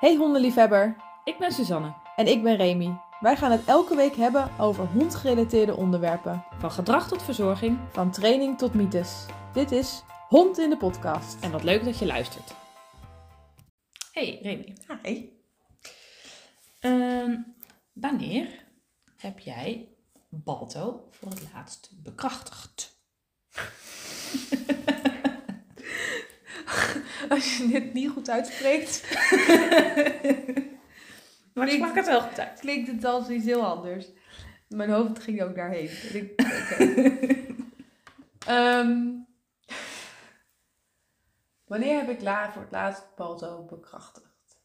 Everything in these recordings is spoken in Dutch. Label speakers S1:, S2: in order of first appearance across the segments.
S1: Hey hondenliefhebber
S2: Ik ben Suzanne,
S1: en ik ben Remy. Wij gaan het elke week hebben over hondgerelateerde onderwerpen,
S2: van gedrag tot verzorging
S1: van training tot mythes. Dit is Hond in de podcast.
S2: en wat leuk dat je luistert. Hey Remy,
S1: Hi.
S2: Ehm, wanneer heb jij Balto voor het laatst bekrachtigd?
S1: Als je dit niet goed uitspreekt,
S2: Maar
S1: ik
S2: het wel goed uit.
S1: klinkt het als iets heel anders. Mijn hoofd ging ook daarheen. En ik- Ehm, wanneer heb ik la voor het laatst Balto bekrachtigd?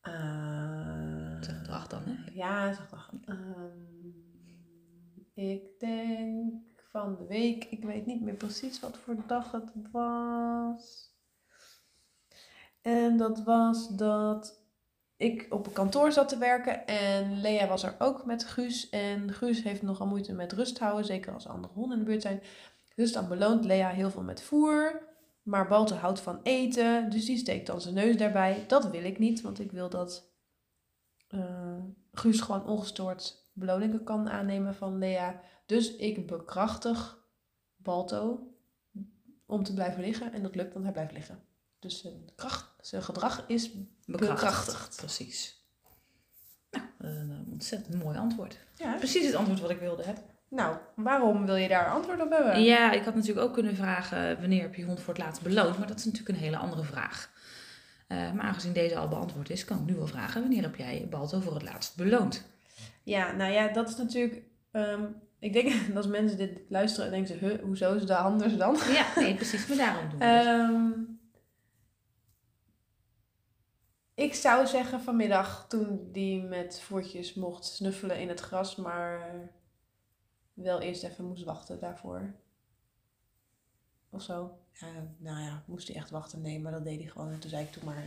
S1: Eh,
S2: Zeg gedrag dan, hè?
S1: Ja, zeg maar. Ehm, ik denk van de week, ik weet niet meer precies wat voor dag het was. En dat was dat ik op een kantoor zat te werken en Lea was er ook met Guus. En Guus heeft nogal moeite met rust houden, zeker als er andere honden in de buurt zijn. Dus dan beloont Lea heel veel met voer. Maar Balte houdt van eten, dus die steekt dan zijn neus daarbij. Dat wil ik niet, want ik wil dat eh, Guus gewoon ongestoord beloningen kan aannemen van Lea. Dus ik bekrachtig Balto om te blijven liggen. En dat lukt, want hij blijft liggen. Dus zijn, kracht, zijn gedrag is... Bekrachtigd.
S2: Precies. Nou, een eh, ontzettend mooi antwoord.
S1: Ja.
S2: Precies het antwoord wat ik wilde hebben.
S1: Nou, waarom wil je daar antwoord op hebben?
S2: Ja, ik had natuurlijk ook kunnen vragen wanneer heb je hond voor het laatst beloond, maar dat is natuurlijk een hele andere vraag. Eh, maar aangezien deze al beantwoord is, kan ik nu wel vragen wanneer heb jij Balto voor het laatst beloond?
S1: Ja, nou ja, dat is natuurlijk... ehm, ik denk dat als mensen dit luisteren, denken ze... Huh, hoezo is dat anders dan?
S2: Ja, nee, precies, maar daarom doen we dus. het.
S1: Ehm, ik zou zeggen vanmiddag toen die met voertjes mocht snuffelen in het gras, maar wel eerst even moest wachten daarvoor. Of zo. Ja, nou ja, moest hij echt wachten? Nee, maar dat deed hij gewoon. En toen zei ik toen maar.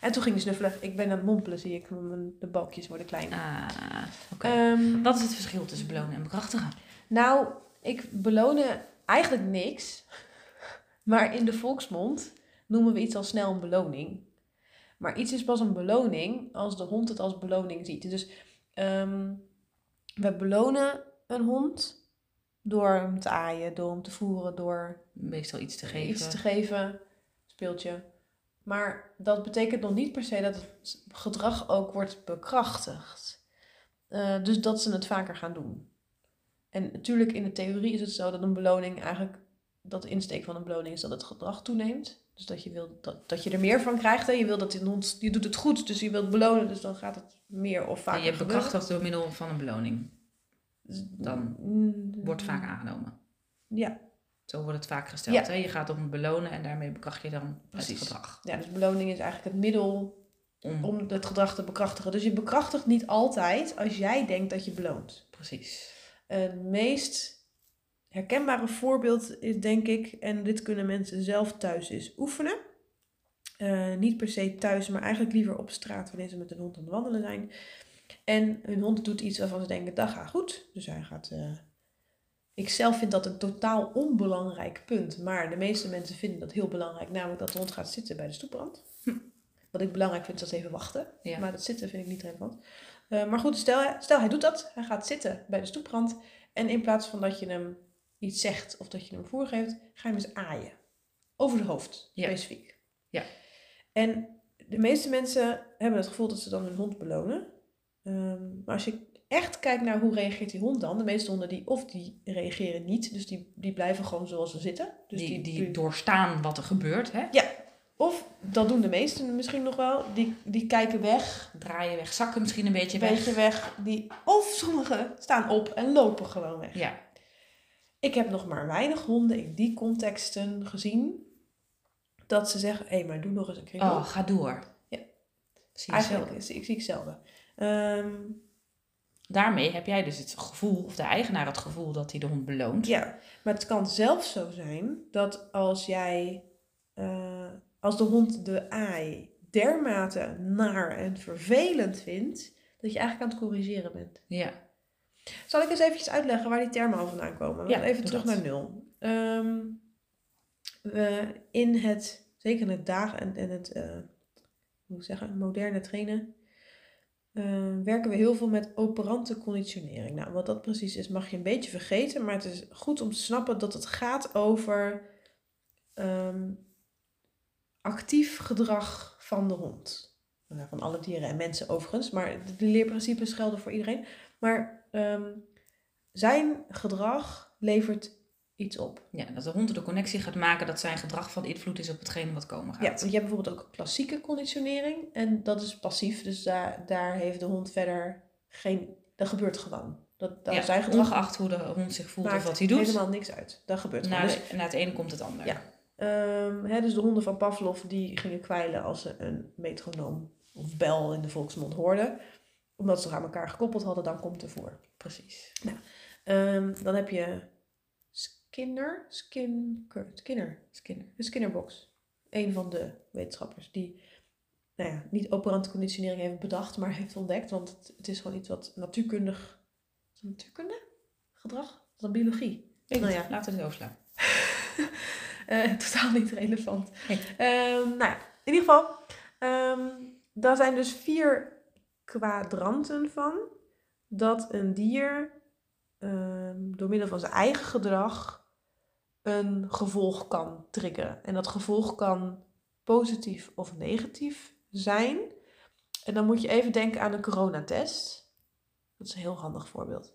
S1: En toen ging hij snuffelen. Ik ben aan het mompelen, zie ik. Mijn- De balkjes worden klein.
S2: Ah, oké.
S1: Ehm,
S2: Wat is het verschil tussen belonen en bekrachtigen?
S1: nou, ik belonen eigenlijk niks. Maar in de volksmond noemen we iets al snel een beloning. Maar iets is pas een beloning als de hond het als beloning ziet. Dus ehm, we belonen een hond door hem te aaien, door hem te voeren, door
S2: Meestal iets te geven.
S1: iets te geven, speeltje. Maar dat betekent nog niet per se dat het gedrag ook wordt bekrachtigd. Eh, dus dat ze het vaker gaan doen. En natuurlijk in de theorie is het zo dat een beloning eigenlijk, dat de insteek van een beloning is dat het gedrag toeneemt. Dus dat je, wil dat, dat je er meer van krijgt. Hè? Je wil dat die hond, je doet het goed, dus je wilt belonen, dus dan gaat het meer of
S2: En
S1: vaker
S2: je hebt
S1: gebeuren. Dus
S2: bekrachtigd door middel van een beloning. Dan
S1: Mm,
S2: wordt vaak aangenomen.
S1: Ja.
S2: Zo wordt het vaak gesteld.
S1: Ja.
S2: Hè? Je gaat om het belonen en daarmee bekracht je dan
S1: Precies.
S2: het gedrag.
S1: Ja, dus beloning is eigenlijk het middel
S2: Om.
S1: om het gedrag te bekrachtigen. Dus je bekrachtigt niet altijd als jij denkt dat je beloont.
S2: Precies.
S1: Het meest herkenbare voorbeeld is denk ik, en dit kunnen mensen zelf thuis is oefenen. Eh, niet per se thuis, maar eigenlijk liever op straat wanneer ze met hun hond aan het wandelen zijn. En hun hond doet iets waarvan ze denken, dat gaat goed. Dus hij gaat... eh, Ik zelf vind dat een totaal onbelangrijk punt. Maar de meeste mensen vinden dat heel belangrijk. Namelijk dat de hond gaat zitten bij de stoeprand. Wat ik belangrijk vind is dat ze even wachten.
S2: Ja.
S1: Maar dat zitten vind ik niet relevant. Eh, maar goed, stel, stel hij doet dat. Hij gaat zitten bij de stoeprand. En in plaats van dat je hem iets zegt of dat je hem voer geeft, ga je hem eens aaien. Over het hoofd,
S2: Ja.
S1: specifiek.
S2: Ja.
S1: En de meeste mensen hebben het gevoel dat ze dan hun hond belonen. Ehm, maar als je echt kijkt naar hoe reageert die hond dan, de meeste honden die of die reageren niet, dus die, die blijven gewoon zoals ze zitten. Dus
S2: die, die, doorstaan wat er gebeurt. Hè?
S1: Of, dat doen de meesten misschien nog wel, die, die kijken weg,
S2: Draaien weg, zakken misschien een beetje
S1: een
S2: weg.
S1: beetje weg. Die, of sommigen staan op en lopen gewoon weg.
S2: Ja,
S1: Ik heb nog maar weinig honden in die contexten gezien. Dat ze zeggen, hé, maar doe nog eens een keer.
S2: oh, ga door.
S1: Ja.
S2: Zie je
S1: Eigenlijk
S2: zelf.
S1: is, ik zie ik zelden. Ehm,
S2: Daarmee heb jij dus het gevoel, of de eigenaar het gevoel dat hij de hond beloont.
S1: ja, maar het kan zelfs zo zijn dat als jij, eh, als de hond de aai dermate naar en vervelend vindt, dat je eigenlijk aan het corrigeren bent.
S2: Ja.
S1: Zal ik eens eventjes uitleggen waar die termen al vandaan komen?
S2: Ja,
S1: even
S2: doe
S1: terug
S2: dat.
S1: naar nul. Ehm, we- in het, zeker in het dag en, en het eh, moet ik zeggen, moderne trainen, eh, werken we heel veel met operante conditionering. Nou, wat dat precies is, mag je een beetje vergeten, maar het is goed om te snappen dat het gaat over ehm, actief gedrag van de hond. Nou, van alle dieren en mensen overigens, maar de- de leerprincipes gelden voor iedereen. Maar ehm, zijn gedrag levert iets op.
S2: Ja, dat de hond de connectie gaat maken dat zijn gedrag van invloed is op hetgeen wat komen
S1: Ja,
S2: gaat.
S1: want je hebt bijvoorbeeld ook klassieke conditionering. En dat is passief. Dus daar, daar heeft de hond verder geen... Dat gebeurt gewoon. Dat, daar
S2: Ja,
S1: zijn gedrag
S2: ongeacht hoe de hond zich voelt of
S1: maakt
S2: wat hij doet. Nou,
S1: helemaal niks uit. Dat gebeurt
S2: Na,
S1: gewoon. Dus,
S2: na het ene komt het ander.
S1: Ja. ehm, hè, dus de honden van Pavlov die gingen kwijlen als ze een metronoom of bel in de volksmond hoorden. Omdat ze zich aan elkaar gekoppeld hadden, dan komt ervoor.
S2: Precies.
S1: Ehm dan heb je Skinner. Skin, Skinner.
S2: Skinner.
S1: De Skinnerbox. Een van de wetenschappers die nou ja, niet operante conditionering heeft bedacht, maar heeft ontdekt. Want het, het is gewoon iets wat natuurkundig. Is het natuurkunde? Gedrag? Dat is biologie.
S2: Weet
S1: Nou
S2: nou
S1: ja.
S2: ja. Laten we het overslaan.
S1: Eh, totaal niet relevant.
S2: Nee.
S1: Ehm, nou ja, in ieder geval. ehm daar zijn dus vier kwadranten van. Dat een dier ehm, door middel van zijn eigen gedrag een gevolg kan triggeren. En dat gevolg kan positief of negatief zijn. En dan moet je even denken aan een coronatest. Dat is een heel handig voorbeeld.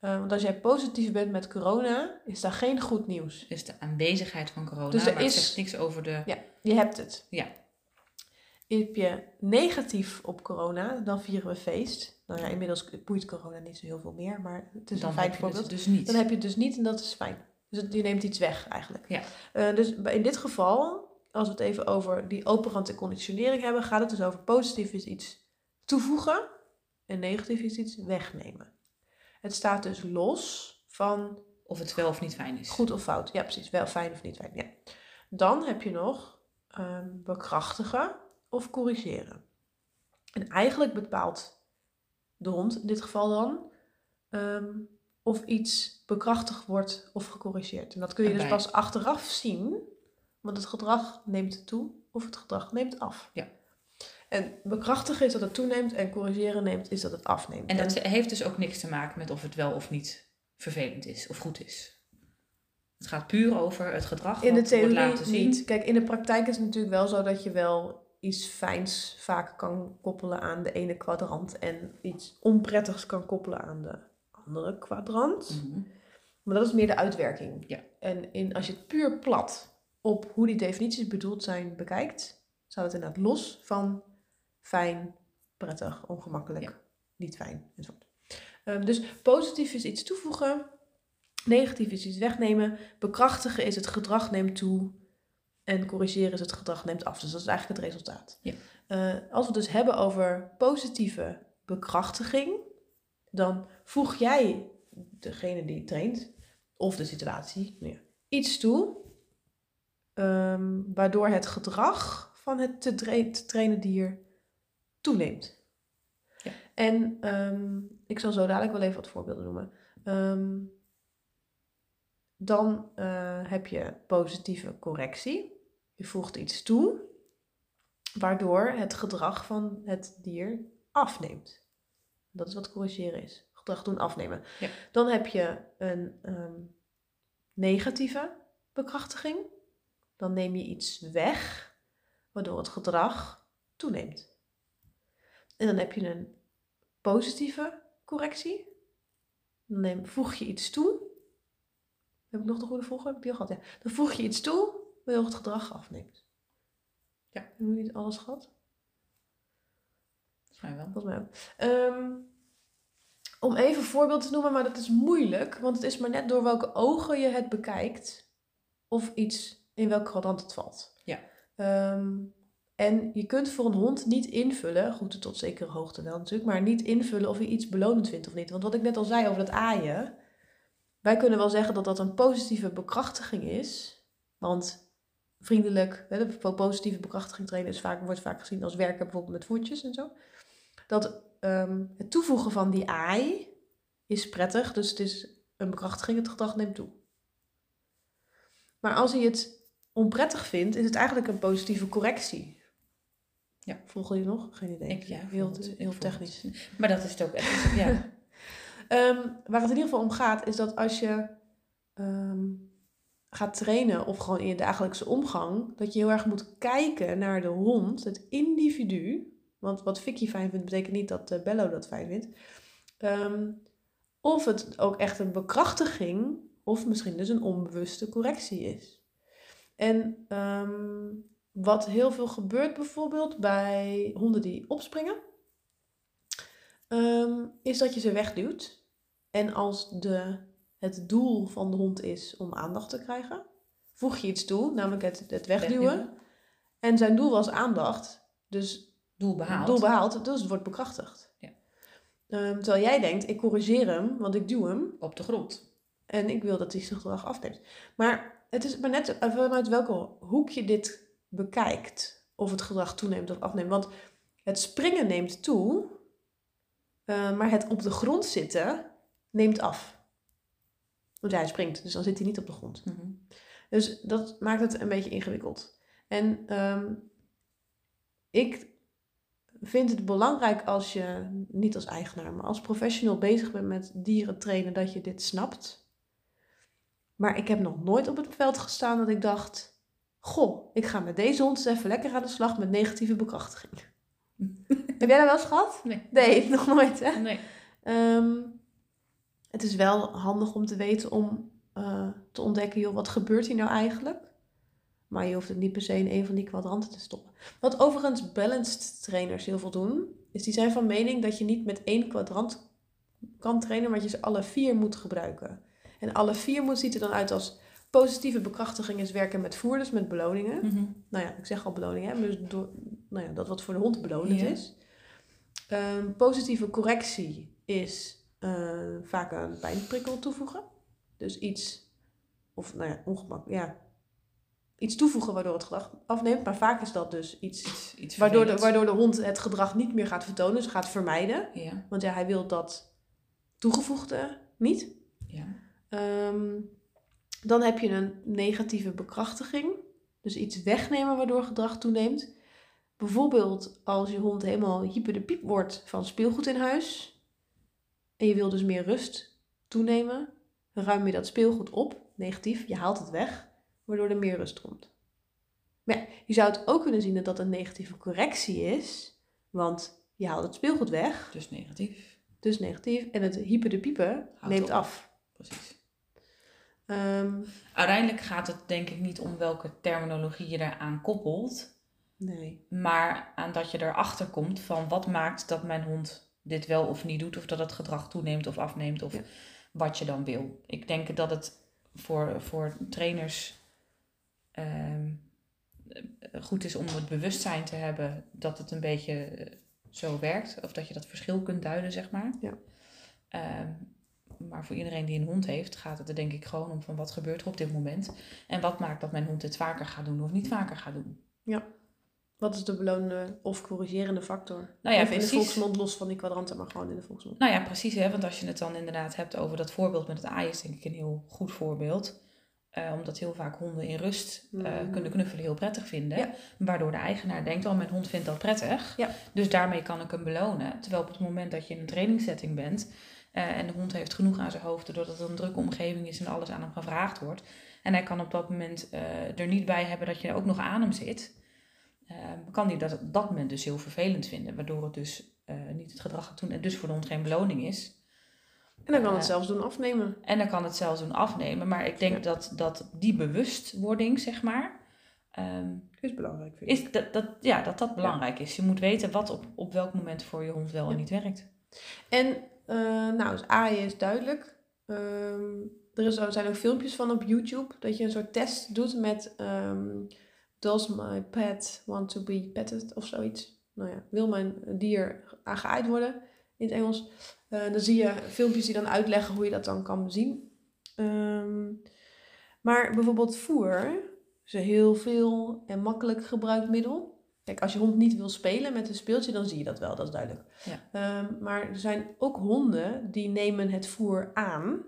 S1: Eh, want als jij positief bent met corona, is daar geen goed nieuws.
S2: Dus de aanwezigheid van corona.
S1: Dus er
S2: maar het
S1: is-
S2: zegt niks over de...
S1: Je hebt het.
S2: Hm. Ja.
S1: Heb je negatief op corona, dan vieren we feest. Nou ja, inmiddels boeit corona niet zo heel veel meer, maar het is
S2: Hm. dan
S1: een fijn
S2: heb je het
S1: voorbeeld.
S2: dus niet.
S1: Dan heb je het dus niet en dat is fijn. Dus het- je neemt iets weg eigenlijk.
S2: Ja.
S1: Eh, dus bij- in dit geval, als we het even over die operante conditionering hebben, gaat het dus over positief is iets toevoegen en negatief is iets wegnemen. Het staat dus los van
S2: Of het wel of niet fijn is.
S1: Goed of fout, ja precies. Wel fijn of niet fijn, ja. Dan heb je nog ehm, bekrachtigen of corrigeren. En eigenlijk bepaalt de hond in dit geval dan ehm, of iets bekrachtigd wordt of gecorrigeerd. En dat kun je dus
S2: Erbij.
S1: pas achteraf zien, want het gedrag neemt toe of het gedrag neemt af.
S2: Ja.
S1: En bekrachtigen is dat het toeneemt en corrigeren neemt is dat het afneemt.
S2: En dat heeft dus ook niks te maken met of het wel of niet vervelend is of goed is. Het gaat puur over het gedrag
S1: In de
S2: wat wordt laten
S1: theorie
S2: zien.
S1: niet. Kijk, in de praktijk is het natuurlijk wel zo dat je wel iets fijns vaak kan koppelen aan de ene kwadrant en iets onprettigs kan koppelen aan de andere kwadrant.
S2: Mhm.
S1: Maar dat is meer de uitwerking.
S2: Ja.
S1: En in, als je het puur plat op hoe die definities bedoeld zijn bekijkt, staat het inderdaad los van fijn, prettig, ongemakkelijk,
S2: Ja.
S1: niet fijn enzovoort. Ehm, dus positief is iets toevoegen, negatief is iets wegnemen, bekrachtigen is het gedrag neemt toe en corrigeren is het gedrag neemt af. Dus dat is eigenlijk het resultaat.
S2: Ja.
S1: Eh, als we het dus hebben over positieve bekrachtiging, dan voeg jij degene die traint, of de situatie, nou ja, iets toe. ehm, waardoor het gedrag van het te, tra- te trainen dier toeneemt.
S2: Ja.
S1: En ehm, ik zal zo dadelijk wel even wat voorbeelden noemen. Ehm, dan eh, heb je positieve correctie. Je voegt iets toe, waardoor het gedrag van het dier afneemt. Dat is wat corrigeren is. Gedrag doen afnemen.
S2: Ja.
S1: Dan heb je een ehm, negatieve bekrachtiging. Dan neem je iets weg, waardoor het gedrag toeneemt. En dan heb je een positieve correctie. Dan neem, voeg je iets toe. Heb ik nog de goede volgorde? Heb ik die al gehad? Ja. Dan voeg je iets toe, waardoor het gedrag afneemt.
S2: Ja.
S1: Hebben we niet alles gehad?
S2: Volgens mij wel.
S1: Volgens mij ook. Ehm, om even een voorbeeld te noemen, maar dat is moeilijk. Want het is maar net door welke ogen je het bekijkt. Of iets in welk kwadrant het valt.
S2: Ja.
S1: Ehm, en je kunt voor een hond niet invullen, goed tot zekere hoogte wel natuurlijk, maar niet invullen of hij iets belonend vindt of niet. Want wat ik net al zei over dat aaien, wij kunnen wel zeggen dat dat een positieve bekrachtiging is. Want vriendelijk, hè, de positieve bekrachtiging trainen is vaak, wordt vaak gezien als werken bijvoorbeeld met voetjes en zo dat ehm, het toevoegen van die AI is prettig, dus het is een bekrachtiging, het gedrag neemt toe. Maar als hij het onprettig vindt, is het eigenlijk een positieve correctie.
S2: Ja.
S1: Volg je nog? Geen idee.
S2: Ik, ja,
S1: heel,
S2: vond het- ik
S1: heel
S2: vond
S1: technisch.
S2: Maar dat is het ook echt. Ja.
S1: Ehm, waar het in ieder geval om gaat, is dat als je ehm, gaat trainen of gewoon in je dagelijkse omgang, dat je heel erg moet kijken naar de hond, het individu. Want wat Vicky fijn vindt, betekent niet dat eh, Bello dat fijn vindt. Ehm, of het ook echt een bekrachtiging, of misschien dus een onbewuste correctie is. En ehm, wat heel veel gebeurt bijvoorbeeld bij honden die opspringen, ehm, is dat je ze wegduwt. En als de, het doel van de hond is om aandacht te krijgen, voeg je iets toe, namelijk het, het wegduwen.
S2: Wegduwen.
S1: En zijn doel was aandacht, dus
S2: Doel behaald.
S1: doel behaald, dus het wordt bekrachtigd.
S2: Ja.
S1: Ehm, terwijl jij denkt, ik corrigeer hem, want ik duw hem.
S2: Op de grond.
S1: En ik wil dat hij zijn gedrag afneemt. Maar het is maar net eh, vanuit welke hoek je dit bekijkt. Of het gedrag toeneemt of afneemt. Want het springen neemt toe. eh, maar het op de grond zitten neemt af. Want ja, hij springt, dus dan zit hij niet op de grond.
S2: Mhm.
S1: Dus dat maakt het een beetje ingewikkeld. En ehm, ik vind het belangrijk als je, niet als eigenaar, maar als professional bezig bent met dieren trainen, dat je dit snapt. Maar ik heb nog nooit op het veld gestaan dat ik dacht, goh, ik ga met deze hond eens even lekker aan de slag met negatieve bekrachtiging. heb jij dat wel eens gehad?
S2: Nee.
S1: Nee, nog nooit hè?
S2: Nee.
S1: Ehm, het is wel handig om te weten om eh, te ontdekken, joh, wat gebeurt hier nou eigenlijk? Maar je hoeft het niet per se in een van die kwadranten te stoppen. Wat overigens balanced trainers heel veel doen, is die zijn van mening dat je niet met één kwadrant kan trainen, maar dat je ze alle vier moet gebruiken. En alle vier moet, ziet er dan uit als positieve bekrachtiging is werken met voerders, met beloningen
S2: Mhm.
S1: nou ja, ik zeg al beloning, hè? Dus door, nou ja, dat wat voor de hond belonend
S2: Ja.
S1: is. Ehm, positieve correctie is eh, vaak een pijnprikkel toevoegen. Dus iets, of nou ja, ongemak, ja. Iets toevoegen waardoor het gedrag afneemt, maar vaak is dat dus iets
S2: Iets, iets
S1: waardoor de,
S2: vervelends.
S1: waardoor de hond het gedrag niet meer gaat vertonen, dus gaat vermijden.
S2: Ja.
S1: Want ja, hij wil dat toegevoegde niet.
S2: ja.
S1: Ehm, dan heb je een negatieve bekrachtiging. Dus iets wegnemen waardoor gedrag toeneemt. Bijvoorbeeld als je hond helemaal hyper de piep wordt van speelgoed in huis. En je wil dus meer rust toenemen. Dan ruim je dat speelgoed op. Negatief, je haalt het weg. Waardoor er meer rust komt. Maar ja, je zou het ook kunnen zien dat dat een negatieve correctie is. Want je haalt het speelgoed weg.
S2: Dus negatief.
S1: Dus negatief. En het hyper de piepen
S2: Houdt
S1: neemt
S2: op.
S1: af.
S2: Precies.
S1: Ehm,
S2: Uiteindelijk gaat het denk ik niet om welke terminologie je eraan koppelt.
S1: nee.
S2: maar aan dat je erachter komt van wat maakt dat mijn hond dit wel of niet doet, of dat het gedrag toeneemt of afneemt, of
S1: Ja.
S2: wat je dan wil. Ik denk dat het voor, voor trainers ehm, goed is om het bewustzijn te hebben dat het een beetje eh, zo werkt, of dat je dat verschil kunt duiden, zeg maar.
S1: Ja.
S2: Ehm, maar voor iedereen die een hond heeft, gaat het er denk ik gewoon om van wat gebeurt er op dit moment en wat maakt dat mijn hond dit vaker gaat doen of niet vaker gaat doen.
S1: Wat is de belonende of corrigerende factor?
S2: Nou ja,
S1: Even in de
S2: precies.
S1: volksmond, los van die kwadranten, maar gewoon in de volksmond.
S2: Nou ja, precies. Hè? Want als je het dan inderdaad hebt over dat voorbeeld met het aai, is denk ik een heel goed voorbeeld. Eh, omdat heel vaak honden in rust eh,
S1: Mhm.
S2: kunnen knuffelen heel prettig vinden.
S1: Ja.
S2: Waardoor de eigenaar denkt, oh mijn hond vindt dat prettig.
S1: Ja.
S2: Dus daarmee kan ik hem belonen. Terwijl op het moment dat je in een trainingssetting bent... eh, en de hond heeft genoeg aan zijn hoofd doordat het een drukke omgeving is en alles aan hem gevraagd wordt. En hij kan op dat moment eh, er niet bij hebben dat je ook nog aan hem zit. eh, kan hij dat op dat moment dus heel vervelend vinden. Waardoor het dus eh, niet het gedrag gaat doen en dus voor de hond geen beloning is.
S1: En dan kan het
S2: eh,
S1: zelfs doen afnemen.
S2: En dan kan het zelfs doen afnemen. Maar ik denk
S1: Ja.
S2: dat, dat die bewustwording, zeg maar, ehm,
S1: Is belangrijk, vind ik.
S2: is dat, dat, ja, dat dat belangrijk is. Je moet weten wat op, op welk moment voor je hond wel en
S1: Ja.
S2: niet werkt.
S1: En, eh, nou, dus aaien is duidelijk. Ehm, er is, er zijn ook filmpjes van op YouTube, dat je een soort test doet met... ehm, Does my pet want to be petted? Of zoiets. Nou ja, wil mijn dier aangewaaid worden? In het Engels. Eh, dan zie je filmpjes die dan uitleggen hoe je dat dan kan zien. Ehm, maar bijvoorbeeld voer is een heel veel en makkelijk gebruikt middel. Kijk, als je hond niet wil spelen met een speeltje, dan zie je dat wel, dat is duidelijk.
S2: Ja.
S1: Ehm, maar er zijn ook honden die nemen het voer aan,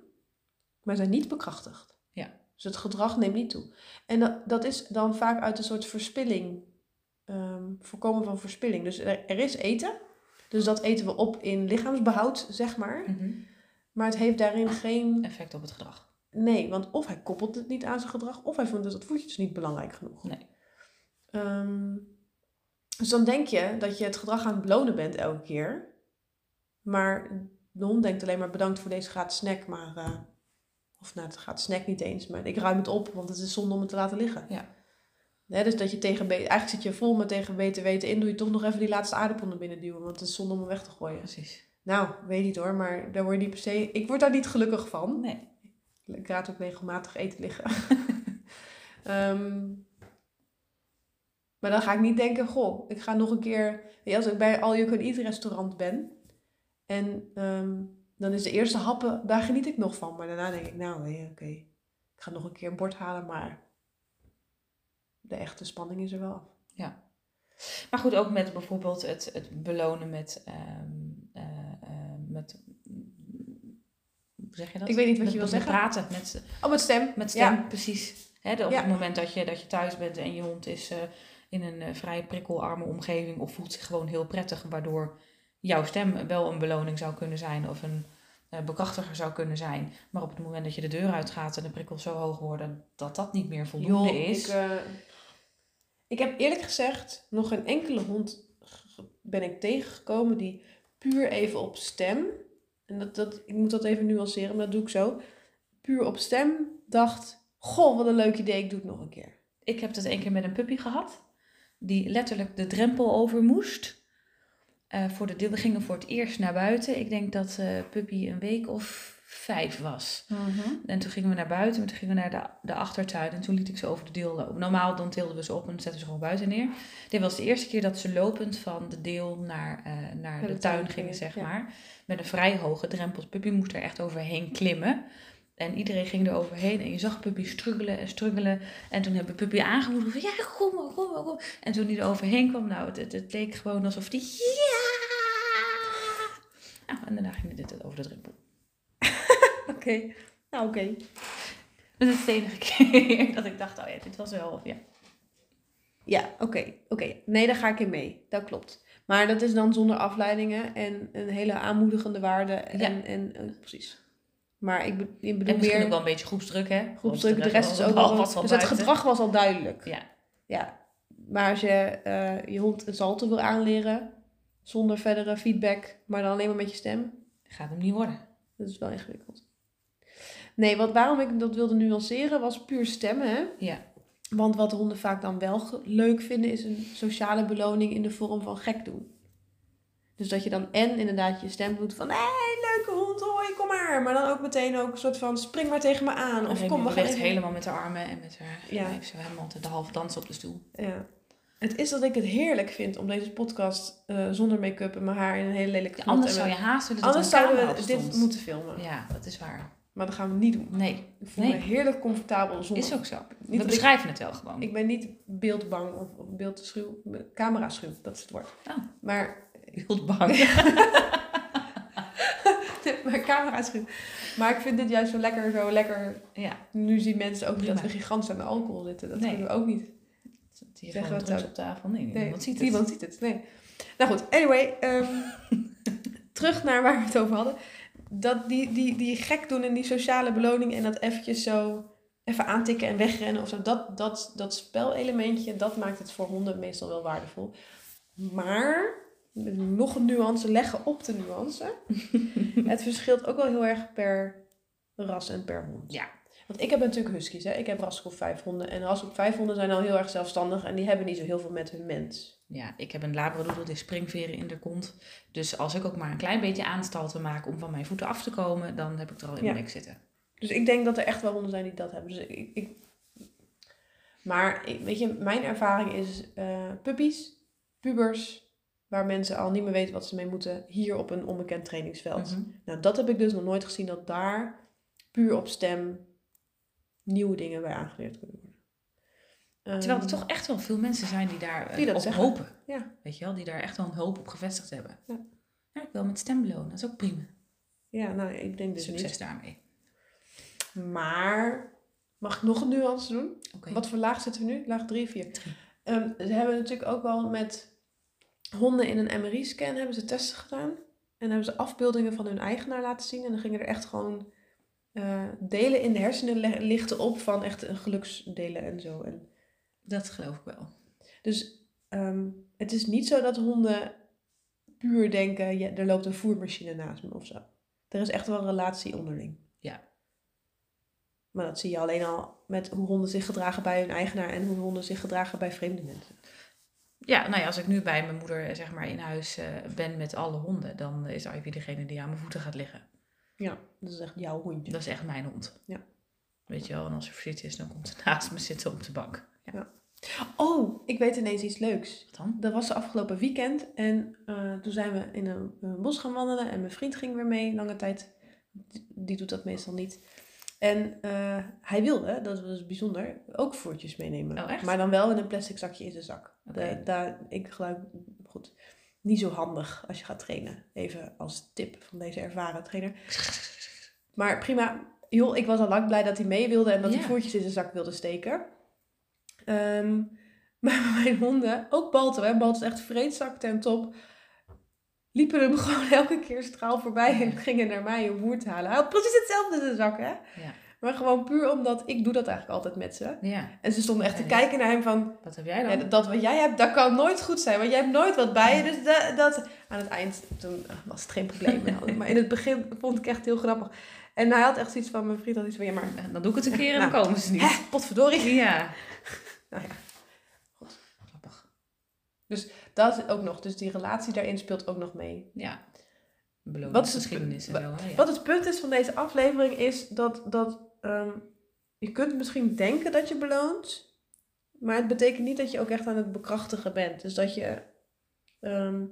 S1: maar zijn niet bekrachtigd.
S2: Ja.
S1: Dus het gedrag neemt niet toe. En dat, dat is dan vaak uit een soort verspilling eh, ehm, voorkomen van verspilling. Dus er, er is eten. Dus dat eten we op in lichaamsbehoud, zeg maar.
S2: Mhm.
S1: Maar het heeft daarin geen.
S2: Effect op het gedrag.
S1: Nee, want of hij koppelt het niet aan zijn gedrag, of hij vindt dat het voetje dus niet belangrijk genoeg.
S2: Nee.
S1: Ehm, dus dan denk je dat je het gedrag aan het belonen bent elke keer. Maar de hond denkt alleen maar bedankt voor deze gratis snack, maar. eh, of nou, het gaat snack niet eens, maar ik ruim het op, want het is zonde om het te laten liggen.
S2: Ja.
S1: Hè, dus dat je tegen be- eigenlijk zit je vol met tegen beter weten in, doe je toch nog even die laatste aardappel naar binnen duwen, want het is zonde om hem weg te gooien.
S2: Precies.
S1: Nou, weet niet hoor, maar daar word je niet per se. Ik word daar niet gelukkig van.
S2: Nee.
S1: Ik raad ook regelmatig eten liggen. Ehm, maar dan ga ik niet denken, goh, ik ga nog een keer. Weet je, als ik bij al you can eat restaurant ben. En ehm, dan is de eerste happen, daar geniet ik nog van. Maar daarna denk ik, nou nee, oké. Ik ga nog een keer een bord halen, maar de echte spanning is er wel af.
S2: Maar goed, ook met bijvoorbeeld het, het belonen met, ehm, eh, eh, met. Hoe zeg je dat?
S1: Ik weet niet wat
S2: Met-
S1: je wil
S2: met
S1: zeggen.
S2: Praten met,
S1: Oh, met stem.
S2: Met
S1: Ja.
S2: stem, precies. Hè, de- op
S1: Ja.
S2: het moment dat je, dat je thuis bent en je hond is eh, in een eh, vrij prikkelarme omgeving of voelt zich gewoon heel prettig, waardoor jouw stem wel een beloning zou kunnen zijn of een eh, bekrachtiger zou kunnen zijn. Maar op het moment dat je de deur uitgaat en de prikkels zo hoog worden, dat dat niet meer voldoende
S1: Joh,
S2: is.
S1: Ik, eh, ik heb eerlijk gezegd nog geen enkele hond ge- ben ik tegengekomen die puur even op stem. En dat, dat, ik moet dat even nuanceren, maar dat doe ik zo. Puur op stem dacht, goh, wat een leuk idee, ik doe het nog een keer.
S2: Ik heb dat één keer met een puppy gehad. Die letterlijk de drempel over moest. Eh, voor de, we gingen voor het eerst naar buiten. Ik denk dat eh puppy een week of vijf was. En toen gingen we naar buiten, maar toen gingen we naar de, de achtertuin. En toen liet ik ze over de deel lopen. Normaal dan tilden we ze op en zetten we ze gewoon buiten neer. Dit was de eerste keer dat ze lopend van de deel naar, eh, naar de, tuin, gingen, zeg
S1: ja.
S2: maar. Met een vrij hoge drempel. Puppy moest er echt overheen klimmen. En iedereen ging er overheen. En je zag Puppy struggelen en struggelen. En toen hebben Puppy aangemoedigd van... Ja, kom maar, kom maar, kom maar." En toen hij er overheen kwam, nou, het, het, het leek gewoon alsof die... Ja! Nou, en daarna ging dit over de drempel. Oké.
S1: Nou, oké.
S2: Dat is de enige keer dat ik dacht, oh ja, dit was wel, of ja.
S1: Ja, oké. oké. Nee, daar ga ik in mee. Dat klopt. Maar dat is dan zonder afleidingen en een hele aanmoedigende waarde. En, en, eh, precies. Maar ik, be- ik bedoel
S2: En misschien
S1: meer...
S2: ook wel een beetje groepsdruk, hè?
S1: groepsdruk. De
S2: Want
S1: rest is
S2: was-
S1: ook wel.
S2: was van
S1: dus het
S2: buiten.
S1: gedrag was al duidelijk.
S2: Ja.
S1: Ja. Maar als je eh, je hond een salto wil aanleren, zonder verdere feedback, maar dan alleen maar met je stem,
S2: Gaat hem niet worden.
S1: dat is wel ingewikkeld. Nee, wat, waarom ik dat wilde nuanceren was puur stemmen. Hè?
S2: Ja.
S1: Want wat honden vaak dan wel ge- leuk vinden, is een sociale beloning in de vorm van gek doen. Dus dat je dan en inderdaad je stem doet van hé, hey, leuke hond, hoi, kom maar. Maar dan ook meteen ook een soort van spring maar tegen me aan. Of kom, we gaan
S2: echt
S1: even
S2: helemaal met haar armen en met haar...
S1: Ja.
S2: Ja. Heeft ze helemaal de halve dans op de stoel.
S1: Ja. Het is dat ik het heerlijk vind om deze podcast eh, zonder make-up en mijn haar in een hele lelijke knot
S2: anders
S1: en
S2: zou je
S1: we-
S2: haast willen dat
S1: anders
S2: er een
S1: zouden we
S2: camera op
S1: dit
S2: stond.
S1: moeten filmen.
S2: Ja, dat is waar.
S1: Maar dat gaan we niet doen.
S2: Nee,
S1: Ik voel
S2: Nee.
S1: me heerlijk comfortabel zonder.
S2: is ook zo.
S1: dat
S2: we
S1: ik-
S2: beschrijven het wel gewoon.
S1: Ik ben niet beeldbang of of beeldschuw, camera-schuw, dat is het woord.
S2: Oh.
S1: Maar,
S2: heel bang.
S1: maar camera-schuw. Maar ik vind dit juist zo lekker, zo lekker.
S2: ja,
S1: Nu zien mensen ook niet dat
S2: Prima.
S1: we gigantisch aan de alcohol zitten. Dat
S2: Nee.
S1: kunnen we ook niet.
S2: die
S1: Zeggen
S2: gewoon
S1: we
S2: drugs
S1: het
S2: op tafel. Nee, nee,
S1: Nee,
S2: niemand ziet het.
S1: Niemand ziet het, nee. Nou goed, anyway. ehm, terug naar waar we het over hadden. Dat die, die, die gek doen en die sociale beloning en dat eventjes zo even aantikken en wegrennen of zo. Dat, dat, dat spelelementje, dat maakt het voor honden meestal wel waardevol. Maar, met nog een nuance, leggen op de nuance. het verschilt ook wel heel erg per ras en per hond.
S2: Ja.
S1: Want ik heb natuurlijk huskies, hè. Ik heb Rasselkoop 5 honden. En Rasselkoop 5 honden zijn al heel erg zelfstandig. En die hebben niet zo heel veel met hun mens.
S2: Ja, ik heb een labradoodle die springveren in de kont. Dus als ik ook maar een klein beetje aanstal te maken om van mijn voeten af te komen, dan heb ik er al in
S1: Ja.
S2: mijn nek zitten.
S1: Dus ik denk dat er echt wel honden zijn die dat hebben. Dus ik, ik... Maar ik, weet je, mijn ervaring is eh puppies, pubers, waar mensen al niet meer weten wat ze mee moeten, hier op een onbekend trainingsveld.
S2: Mhm.
S1: Nou, dat heb ik dus nog nooit gezien, dat daar puur op stem nieuwe dingen bij aangeleerd kunnen worden.
S2: Terwijl er
S1: Ehm,
S2: toch echt wel veel mensen zijn die daar eh,
S1: Die dat
S2: op
S1: zeggen.
S2: hopen.
S1: Ja.
S2: Weet je wel, die daar echt wel een hoop op gevestigd hebben.
S1: Ja.
S2: Ja, ik wil met stem belonen, dat is ook prima.
S1: Ja, nou, ik denk dus
S2: Succes daarmee.
S1: niet. Maar, mag ik nog een nuance doen?
S2: Oké.
S1: Wat voor laag zitten we nu? Laag 3, 4.
S2: Drie.
S1: Ehm, ze hebben natuurlijk ook wel met honden in een MRI-scan hebben ze testen gedaan. En hebben ze afbeeldingen van hun eigenaar laten zien. En dan gingen er echt gewoon eh, delen in de hersenen le- lichten op van echt eh, geluksdelen en zo. En
S2: Dat geloof ik wel.
S1: dus ehm, het is niet zo dat honden puur denken, ja, er loopt een voermachine naast me of zo. Er is echt wel een relatie onderling.
S2: Ja.
S1: Maar dat zie je alleen al met hoe honden zich gedragen bij hun eigenaar en hoe honden zich gedragen bij vreemde mensen.
S2: Ja, nou ja, als ik nu bij mijn moeder eh, zeg maar in huis eh, ben met alle honden, dan eh, is Ivy degene die aan mijn voeten gaat liggen.
S1: Ja, dat is echt jouw hondje.
S2: Dat is echt mijn hond.
S1: Ja.
S2: Weet je wel, en als ze verzit is, dan komt ze naast me zitten op de bank. Ja,
S1: Oh, ik weet ineens iets leuks.
S2: wat dan?
S1: Dat was de afgelopen weekend en eh, toen zijn we in een, een bos gaan wandelen en mijn vriend ging weer mee, lange tijd. Die- Die doet dat meestal niet. En eh, hij wilde, dat was dus bijzonder, ook voertjes meenemen.
S2: Oh, echt?
S1: Maar dan wel in een plastic zakje in zijn zak.
S2: Oké.
S1: Da- daar, ik gebruik, goed, niet zo handig als je gaat trainen. Even als tip van deze ervaren trainer. Maar prima. Joh, ik was al lang blij dat hij mee wilde en dat hij
S2: Ja.
S1: voertjes in zijn zak wilde steken. Ehm, maar mijn honden, ook Balto, hè, Balto is echt vreedzak ten top, liepen hem gewoon elke keer straal voorbij en gingen naar mij om voer te halen. Hij had precies hetzelfde in zijn zak, hè?
S2: Ja.
S1: Maar gewoon puur omdat ik doe dat eigenlijk altijd met ze.
S2: Ja,
S1: En ze stonden echt te
S2: Ja, ja.
S1: kijken naar hem van,
S2: wat heb jij dan?
S1: ja, dat- dat wat jij hebt, dat kan nooit goed zijn, want jij hebt nooit wat bij je. Dus dat, dat... Aan het eind, toen ah, was het geen probleem. maar in het begin vond ik echt heel grappig. En hij had echt zoiets van, mijn vriend had iets van, ja maar,
S2: Eh, Dan doe ik het een keer en dan
S1: Nou.
S2: komen ze niet.
S1: hè, potverdorie.
S2: Ja.
S1: Nou ja.
S2: Grappig.
S1: Dat is ook nog, dus die relatie daarin speelt ook nog mee.
S2: Ja.
S1: Wat is het
S2: Beloningsgeschiedenis en
S1: punt?
S2: zo. hè, Ja.
S1: Wat het punt is van deze aflevering is dat, dat ehm, je kunt misschien denken dat je beloont, maar het betekent niet dat je ook echt aan het bekrachtigen bent. Dus dat je, ehm,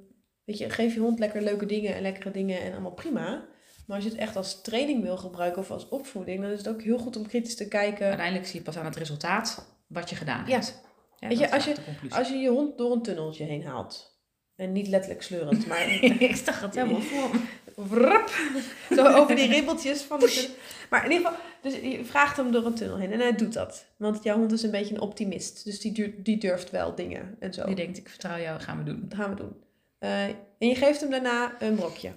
S1: weet je, geef je hond lekker leuke dingen en lekkere dingen en allemaal prima. Maar als je het echt als training wil gebruiken of als opvoeding, dan is het ook heel goed om kritisch te kijken.
S2: Uiteindelijk zie je pas aan het resultaat wat je gedaan
S1: Ja.
S2: hebt. Ja,
S1: Weet je,
S2: dat is
S1: als
S2: echt de conclusie.
S1: Als je je hond door een tunneltje heen haalt. En niet letterlijk sleurend, maar
S2: ik zag het helemaal voor me.
S1: Wrap. Zo over die ribbeltjes van de tunnel. Maar in ieder geval, dus je vraagt hem door een tunnel heen. En hij doet dat. Want jouw hond is een beetje een optimist. Dus die, duurt, die durft wel dingen en zo.
S2: Je denkt, ik vertrouw jou, gaan we doen.
S1: Dat gaan we doen. Eh, en je geeft hem daarna een brokje.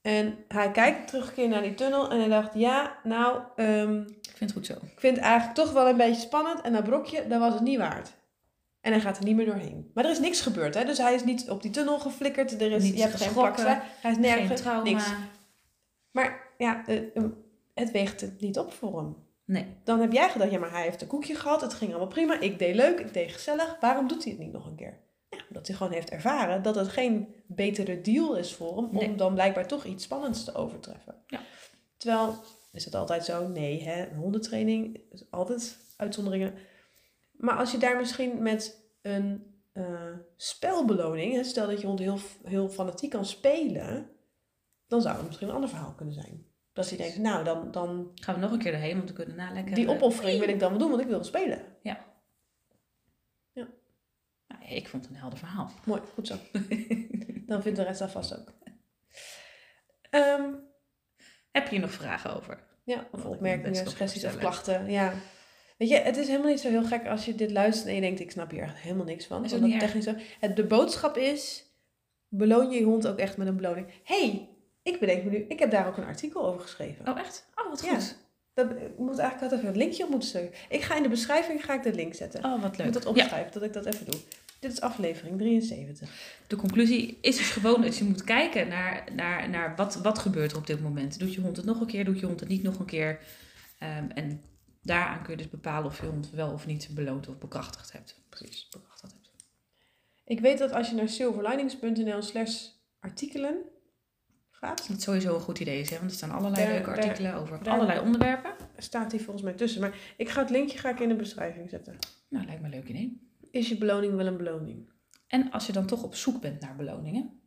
S1: En hij kijkt terug een keer naar die tunnel. En hij dacht, ja, nou, ehm,
S2: Ik vind het goed zo.
S1: ik vind het eigenlijk toch wel een beetje spannend. En dat brokje, dat was het niet waard. En hij gaat er niet meer doorheen. Maar er is niks gebeurd, hè? Dus hij is niet op die tunnel geflikkerd. Er is,
S2: Niet
S1: je hebt geen
S2: geschrokken,
S1: plakslijn. Hij is nergens,
S2: Geen trauma.
S1: niks. Maar ja, eh, eh, het weegt het niet op voor hem.
S2: Nee.
S1: Dan heb jij gedacht, ja, maar hij heeft een koekje gehad, het ging allemaal prima, ik deed leuk, ik deed gezellig, waarom doet hij het niet nog een keer? Ja, omdat hij gewoon heeft ervaren dat het geen betere deal is voor hem, om
S2: Nee.
S1: dan blijkbaar toch iets spannends te overtreffen.
S2: Ja.
S1: Terwijl, is het altijd zo? Nee, hè? Een hondentraining is altijd uitzonderingen. Maar als je daar misschien met een eh, spelbeloning, hè, stel dat je hond heel, heel fanatiek kan spelen, dan zou het misschien een ander verhaal kunnen zijn. Dat hij denkt, nou, dan, dan
S2: Gaan we nog een keer erheen, want we kunnen na lekker...
S1: die
S2: eh,
S1: opoffering wil ik dan wel doen, want ik wil spelen.
S2: nou, ik vond het een helder verhaal.
S1: Mooi, goed zo. dan vindt de rest dat vast ook. Ehm,
S2: Heb je hier nog vragen over?
S1: ja, of
S2: ik me best
S1: opmerkingen,
S2: wel
S1: suggesties of
S2: voorstellen.
S1: klachten. Ja. Weet je, het is helemaal niet zo heel gek als je dit luistert en je denkt, ik snap hier echt helemaal niks van.
S2: Is
S1: Van
S2: ook
S1: dat
S2: niet erg.
S1: technisch zo. Het, de boodschap is, beloon je je hond ook echt met een beloning. hey, ik bedenk me nu, ik heb daar ook een artikel over geschreven.
S2: Oh, echt? Oh, wat
S1: Ja.
S2: goed.
S1: Dat, ik moet eigenlijk altijd even een linkje op moeten sturen. Ik ga in de beschrijving ga ik de link zetten.
S2: Oh, wat
S1: Ik
S2: leuk.
S1: moet dat
S2: Ja,
S1: opschrijven, dat ik dat even doe. Dit is aflevering 73.
S2: de conclusie is dus gewoon dat je moet kijken naar, naar, naar wat, wat gebeurt er op dit moment. Doet je hond het nog een keer, doet je hond het niet nog een keer. Ehm, en daaraan kun je dus bepalen of je hond wel of niet beloond of bekrachtigd hebt. Precies, bekrachtigd hebt.
S1: Ik weet dat als je naar silverlinings.nl slash artikelen gaat,
S2: Dat sowieso een goed idee is, hè? want er staan allerlei
S1: Daar-
S2: leuke
S1: daar-
S2: artikelen over
S1: daar-
S2: allerlei onderwerpen.
S1: staat die volgens mij tussen. Maar ik ga het linkje ga ik in de beschrijving zetten.
S2: Nou, lijkt me een leuk idee.
S1: Is je beloning wel een beloning?
S2: En als je dan toch op zoek bent naar beloningen,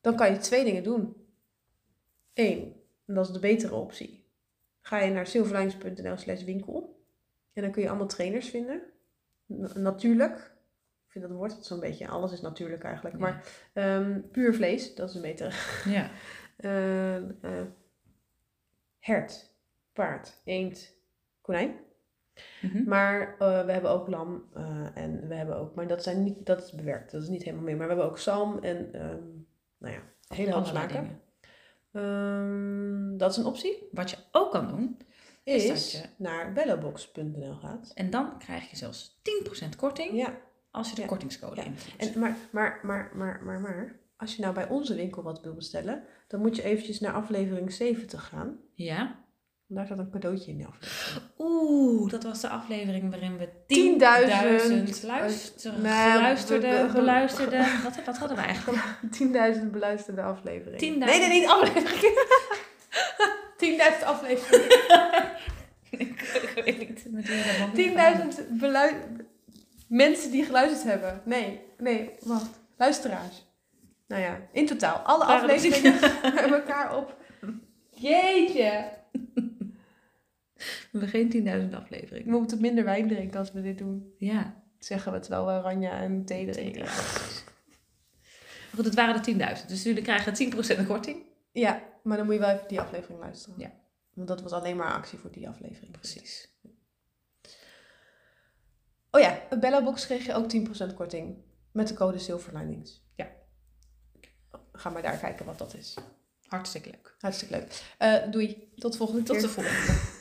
S1: Dan kan je twee dingen doen. Eén, en dat is de betere optie. Ga je naar silverlinings.nl slash winkel en dan kun je allemaal trainers vinden. Na- Natuurlijk. Ik vind dat woord zo'n beetje, alles is natuurlijk eigenlijk.
S2: Ja.
S1: Maar ehm, puur vlees, dat is een betere.
S2: ja.
S1: Eh, eh, hert, paard, eend, konijn.
S2: Mhm.
S1: Maar eh, we hebben ook lam eh, en we hebben ook, maar dat zijn niet, dat is bewerkt, dat is niet helemaal meer. Maar we hebben ook zalm en, ehm, nou ja, een hele hoop
S2: Allerlei
S1: smaken.
S2: dingen.
S1: Ehm, dat is een optie.
S2: Wat je ook kan doen,
S1: Is,
S2: Is dat je-
S1: naar bellobox.nl gaat.
S2: en dan krijg je zelfs 10% korting
S1: Ja,
S2: als je de
S1: Ja.
S2: kortingscode
S1: Ja.
S2: invoert.
S1: en, maar, maar, maar, maar, maar, maar, als je nou bij onze winkel wat wil bestellen, dan moet je eventjes naar aflevering 70 gaan.
S2: ja.
S1: Want Daar zat een cadeautje in de aflevering.
S2: Oeh, dat was de aflevering waarin we
S1: 10.000
S2: 10.000 luisteren,
S1: Nee,
S2: geluisterde,
S1: we-
S2: beluisterden. Wat, wat hadden we eigenlijk?
S1: 10.000 beluisterde afleveringen.
S2: 10.000.
S1: Nee, nee, niet afleveringen. 10.000 afleveringen.
S2: ik weet niet. met wie we dat band
S1: 10.000 belu- mensen die geluisterd hebben. Nee, nee, wacht. Luisteraars. Nou ja, in totaal. Alle
S2: Waren dat
S1: afleveringen bij elkaar op. Jeetje.
S2: We hebben geen 10.000 aflevering.
S1: We moeten minder wijn drinken als we dit doen.
S2: Ja.
S1: Zeggen we terwijl we Ranja en thee
S2: Thee
S1: drinken.
S2: Maar Goed, het waren de 10.000. Dus jullie krijgen 10% korting.
S1: Ja, maar dan moet je wel even die aflevering luisteren.
S2: Ja.
S1: Want dat was alleen maar actie voor die aflevering.
S2: Precies.
S1: Oh ja, een Bellabox kreeg je ook 10% korting. Met de code Silverlinings.
S2: Ja.
S1: Ga maar daar kijken wat dat is.
S2: Hartstikke leuk.
S1: Hartstikke leuk. Eh, doei. Tot de volgende keer.
S2: Tot de volgende.